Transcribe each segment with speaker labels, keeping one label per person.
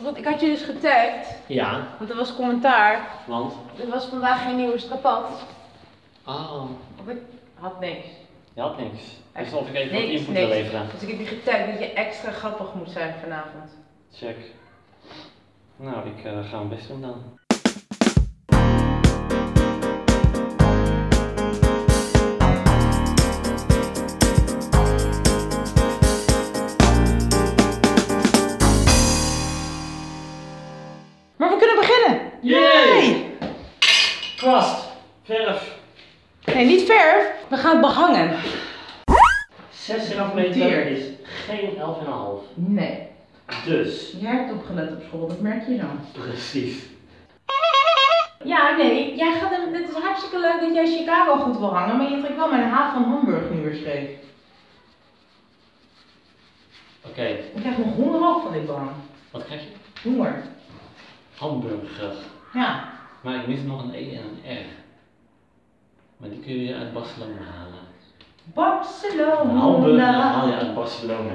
Speaker 1: Want ik had je dus getagd,
Speaker 2: Ja,
Speaker 1: want er was commentaar.
Speaker 2: want.
Speaker 1: Er was vandaag geen nieuwe strapat.
Speaker 2: Ah,
Speaker 1: Of ik had niks.
Speaker 2: je had niks. Dus
Speaker 1: Echt
Speaker 2: of ik even wat
Speaker 1: niks,
Speaker 2: input wil
Speaker 1: niks.
Speaker 2: leveren.
Speaker 1: Dus ik heb je getagd dat je extra grappig moet zijn vanavond.
Speaker 2: Check. Nou, ik eh, ga mijn best doen dan.
Speaker 1: Maar we kunnen beginnen!
Speaker 2: Yay! Kwast, verf,
Speaker 1: Nee, niet verf. We gaan het behangen.
Speaker 2: 6,5
Speaker 1: Deer.
Speaker 2: meter is geen 11,5.
Speaker 1: Nee.
Speaker 2: Dus,
Speaker 1: Jij hebt opgelet op school, dat merk je dan.
Speaker 2: precies.
Speaker 1: Ja, nee. Jij gaat hem, het is hartstikke leuk dat jij Chicago goed wil hangen, maar je trekt wel mijn haat van Hamburg nu weer scheef.
Speaker 2: Oké,
Speaker 1: Ik krijg nog honger ook van dit behang.
Speaker 2: wat krijg je?
Speaker 1: Honger.
Speaker 2: Hamburger.
Speaker 1: Ja.
Speaker 2: Maar ik mis nog een E en een R. Maar die kun je uit Barcelona halen. Een hamburger haal je
Speaker 1: Barcelona.
Speaker 2: uit Barcelona.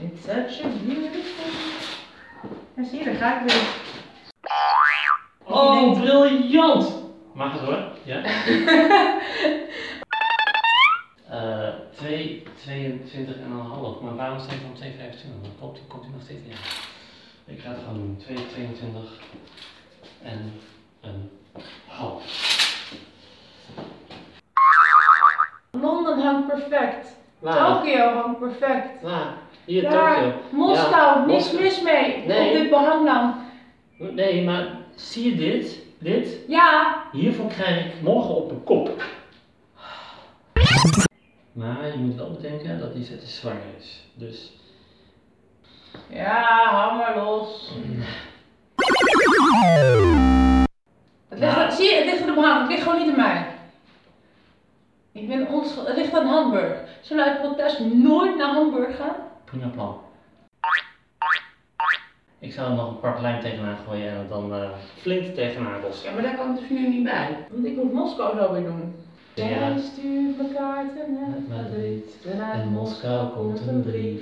Speaker 1: It's such a beautiful. Ja, zie je, daar ga ik weer.
Speaker 2: Oh,
Speaker 1: je denkt-
Speaker 2: briljant! Mag het hoor? Ja. Eh 2, 22 en een half. Maar waarom staat hij dan 2,25? Dat klopt, die komt hij nog steeds in. Ik ga het gewoon doen. 2, 22 en een half.
Speaker 1: Londen hangt perfect.
Speaker 2: Waar?
Speaker 1: Tokio hangt perfect.
Speaker 2: Waar? Hier,
Speaker 1: Daar,
Speaker 2: Tokio.
Speaker 1: Moskou,
Speaker 2: Ja,
Speaker 1: niks
Speaker 2: Moskou.
Speaker 1: mis mee.
Speaker 2: Nee.
Speaker 1: Op dit behang dan.
Speaker 2: Nee, maar zie je dit? Dit?
Speaker 1: Ja,
Speaker 2: Hiervoor krijg ik morgen op mijn kop. Maar je moet wel bedenken dat die zet zwanger is. Dus
Speaker 1: Ja, hou maar los. Het ligt
Speaker 2: Ja.
Speaker 1: aan- zie je, het ligt aan de behang. Het ligt gewoon niet aan mij. Ik ben onschuldig. Het ligt aan Hamburg. Zullen we uit protest nooit naar Hamburg gaan?
Speaker 2: Prima plan. Ik zou er nog een kwart lijn tegenaan gooien en het dan eh, flink tegenaan bossen.
Speaker 1: maar daar kan ik dus nu niet bij. Want ik moet Moskou zo weer doen.
Speaker 2: Ja.
Speaker 1: Jij stuurt me kaarten uit
Speaker 2: Uit
Speaker 1: Madrid. En uit
Speaker 2: In Moskou komt een brief.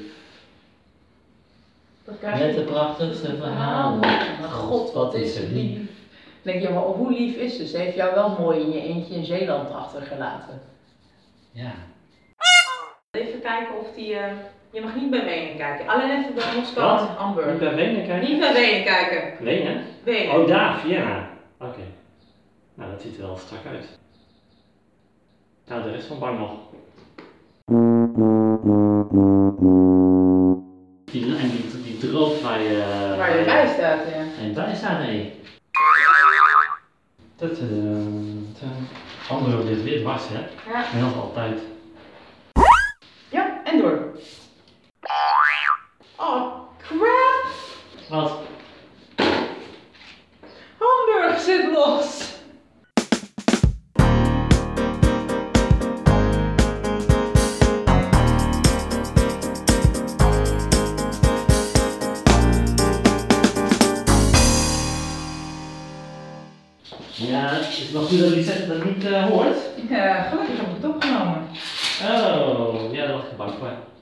Speaker 1: Dat kaartje-
Speaker 2: Met de prachtigste verhalen. God, wat is er lief.
Speaker 1: Ik denk, ja, maar hoe lief is ze? Ze heeft jou wel mooi in je eentje in Zeeland achtergelaten.
Speaker 2: Ja.
Speaker 1: Even kijken of die... eh, je mag niet bij Wenen kijken. Alleen even bij Moskou
Speaker 2: Wat?
Speaker 1: en
Speaker 2: Moet ik
Speaker 1: Hamburg.
Speaker 2: bij Wenen kijken?
Speaker 1: Niet bij Wenen kijken.
Speaker 2: Wenen?
Speaker 1: Wenen.
Speaker 2: Oh, daar, Vienna. Oké. Nou, dat ziet er wel strak uit. Nou, de rest van Bang nog. Die, en die, eh, die droog waar je...
Speaker 1: Waar je bij staat, ja.
Speaker 2: En daar is daar mee. Dat eh andere dit weer was, hè?
Speaker 1: Ja.
Speaker 2: En nog altijd.
Speaker 1: Ja, en door. Oh, crap!
Speaker 2: Wat?
Speaker 1: Hamburg zit los!
Speaker 2: Ja, het is wel goed dat die zegt dat niet eh, hoort.
Speaker 1: Ja, gelukkig heb ik het opgenomen.
Speaker 2: Oh, ja, dat was ik bang voor.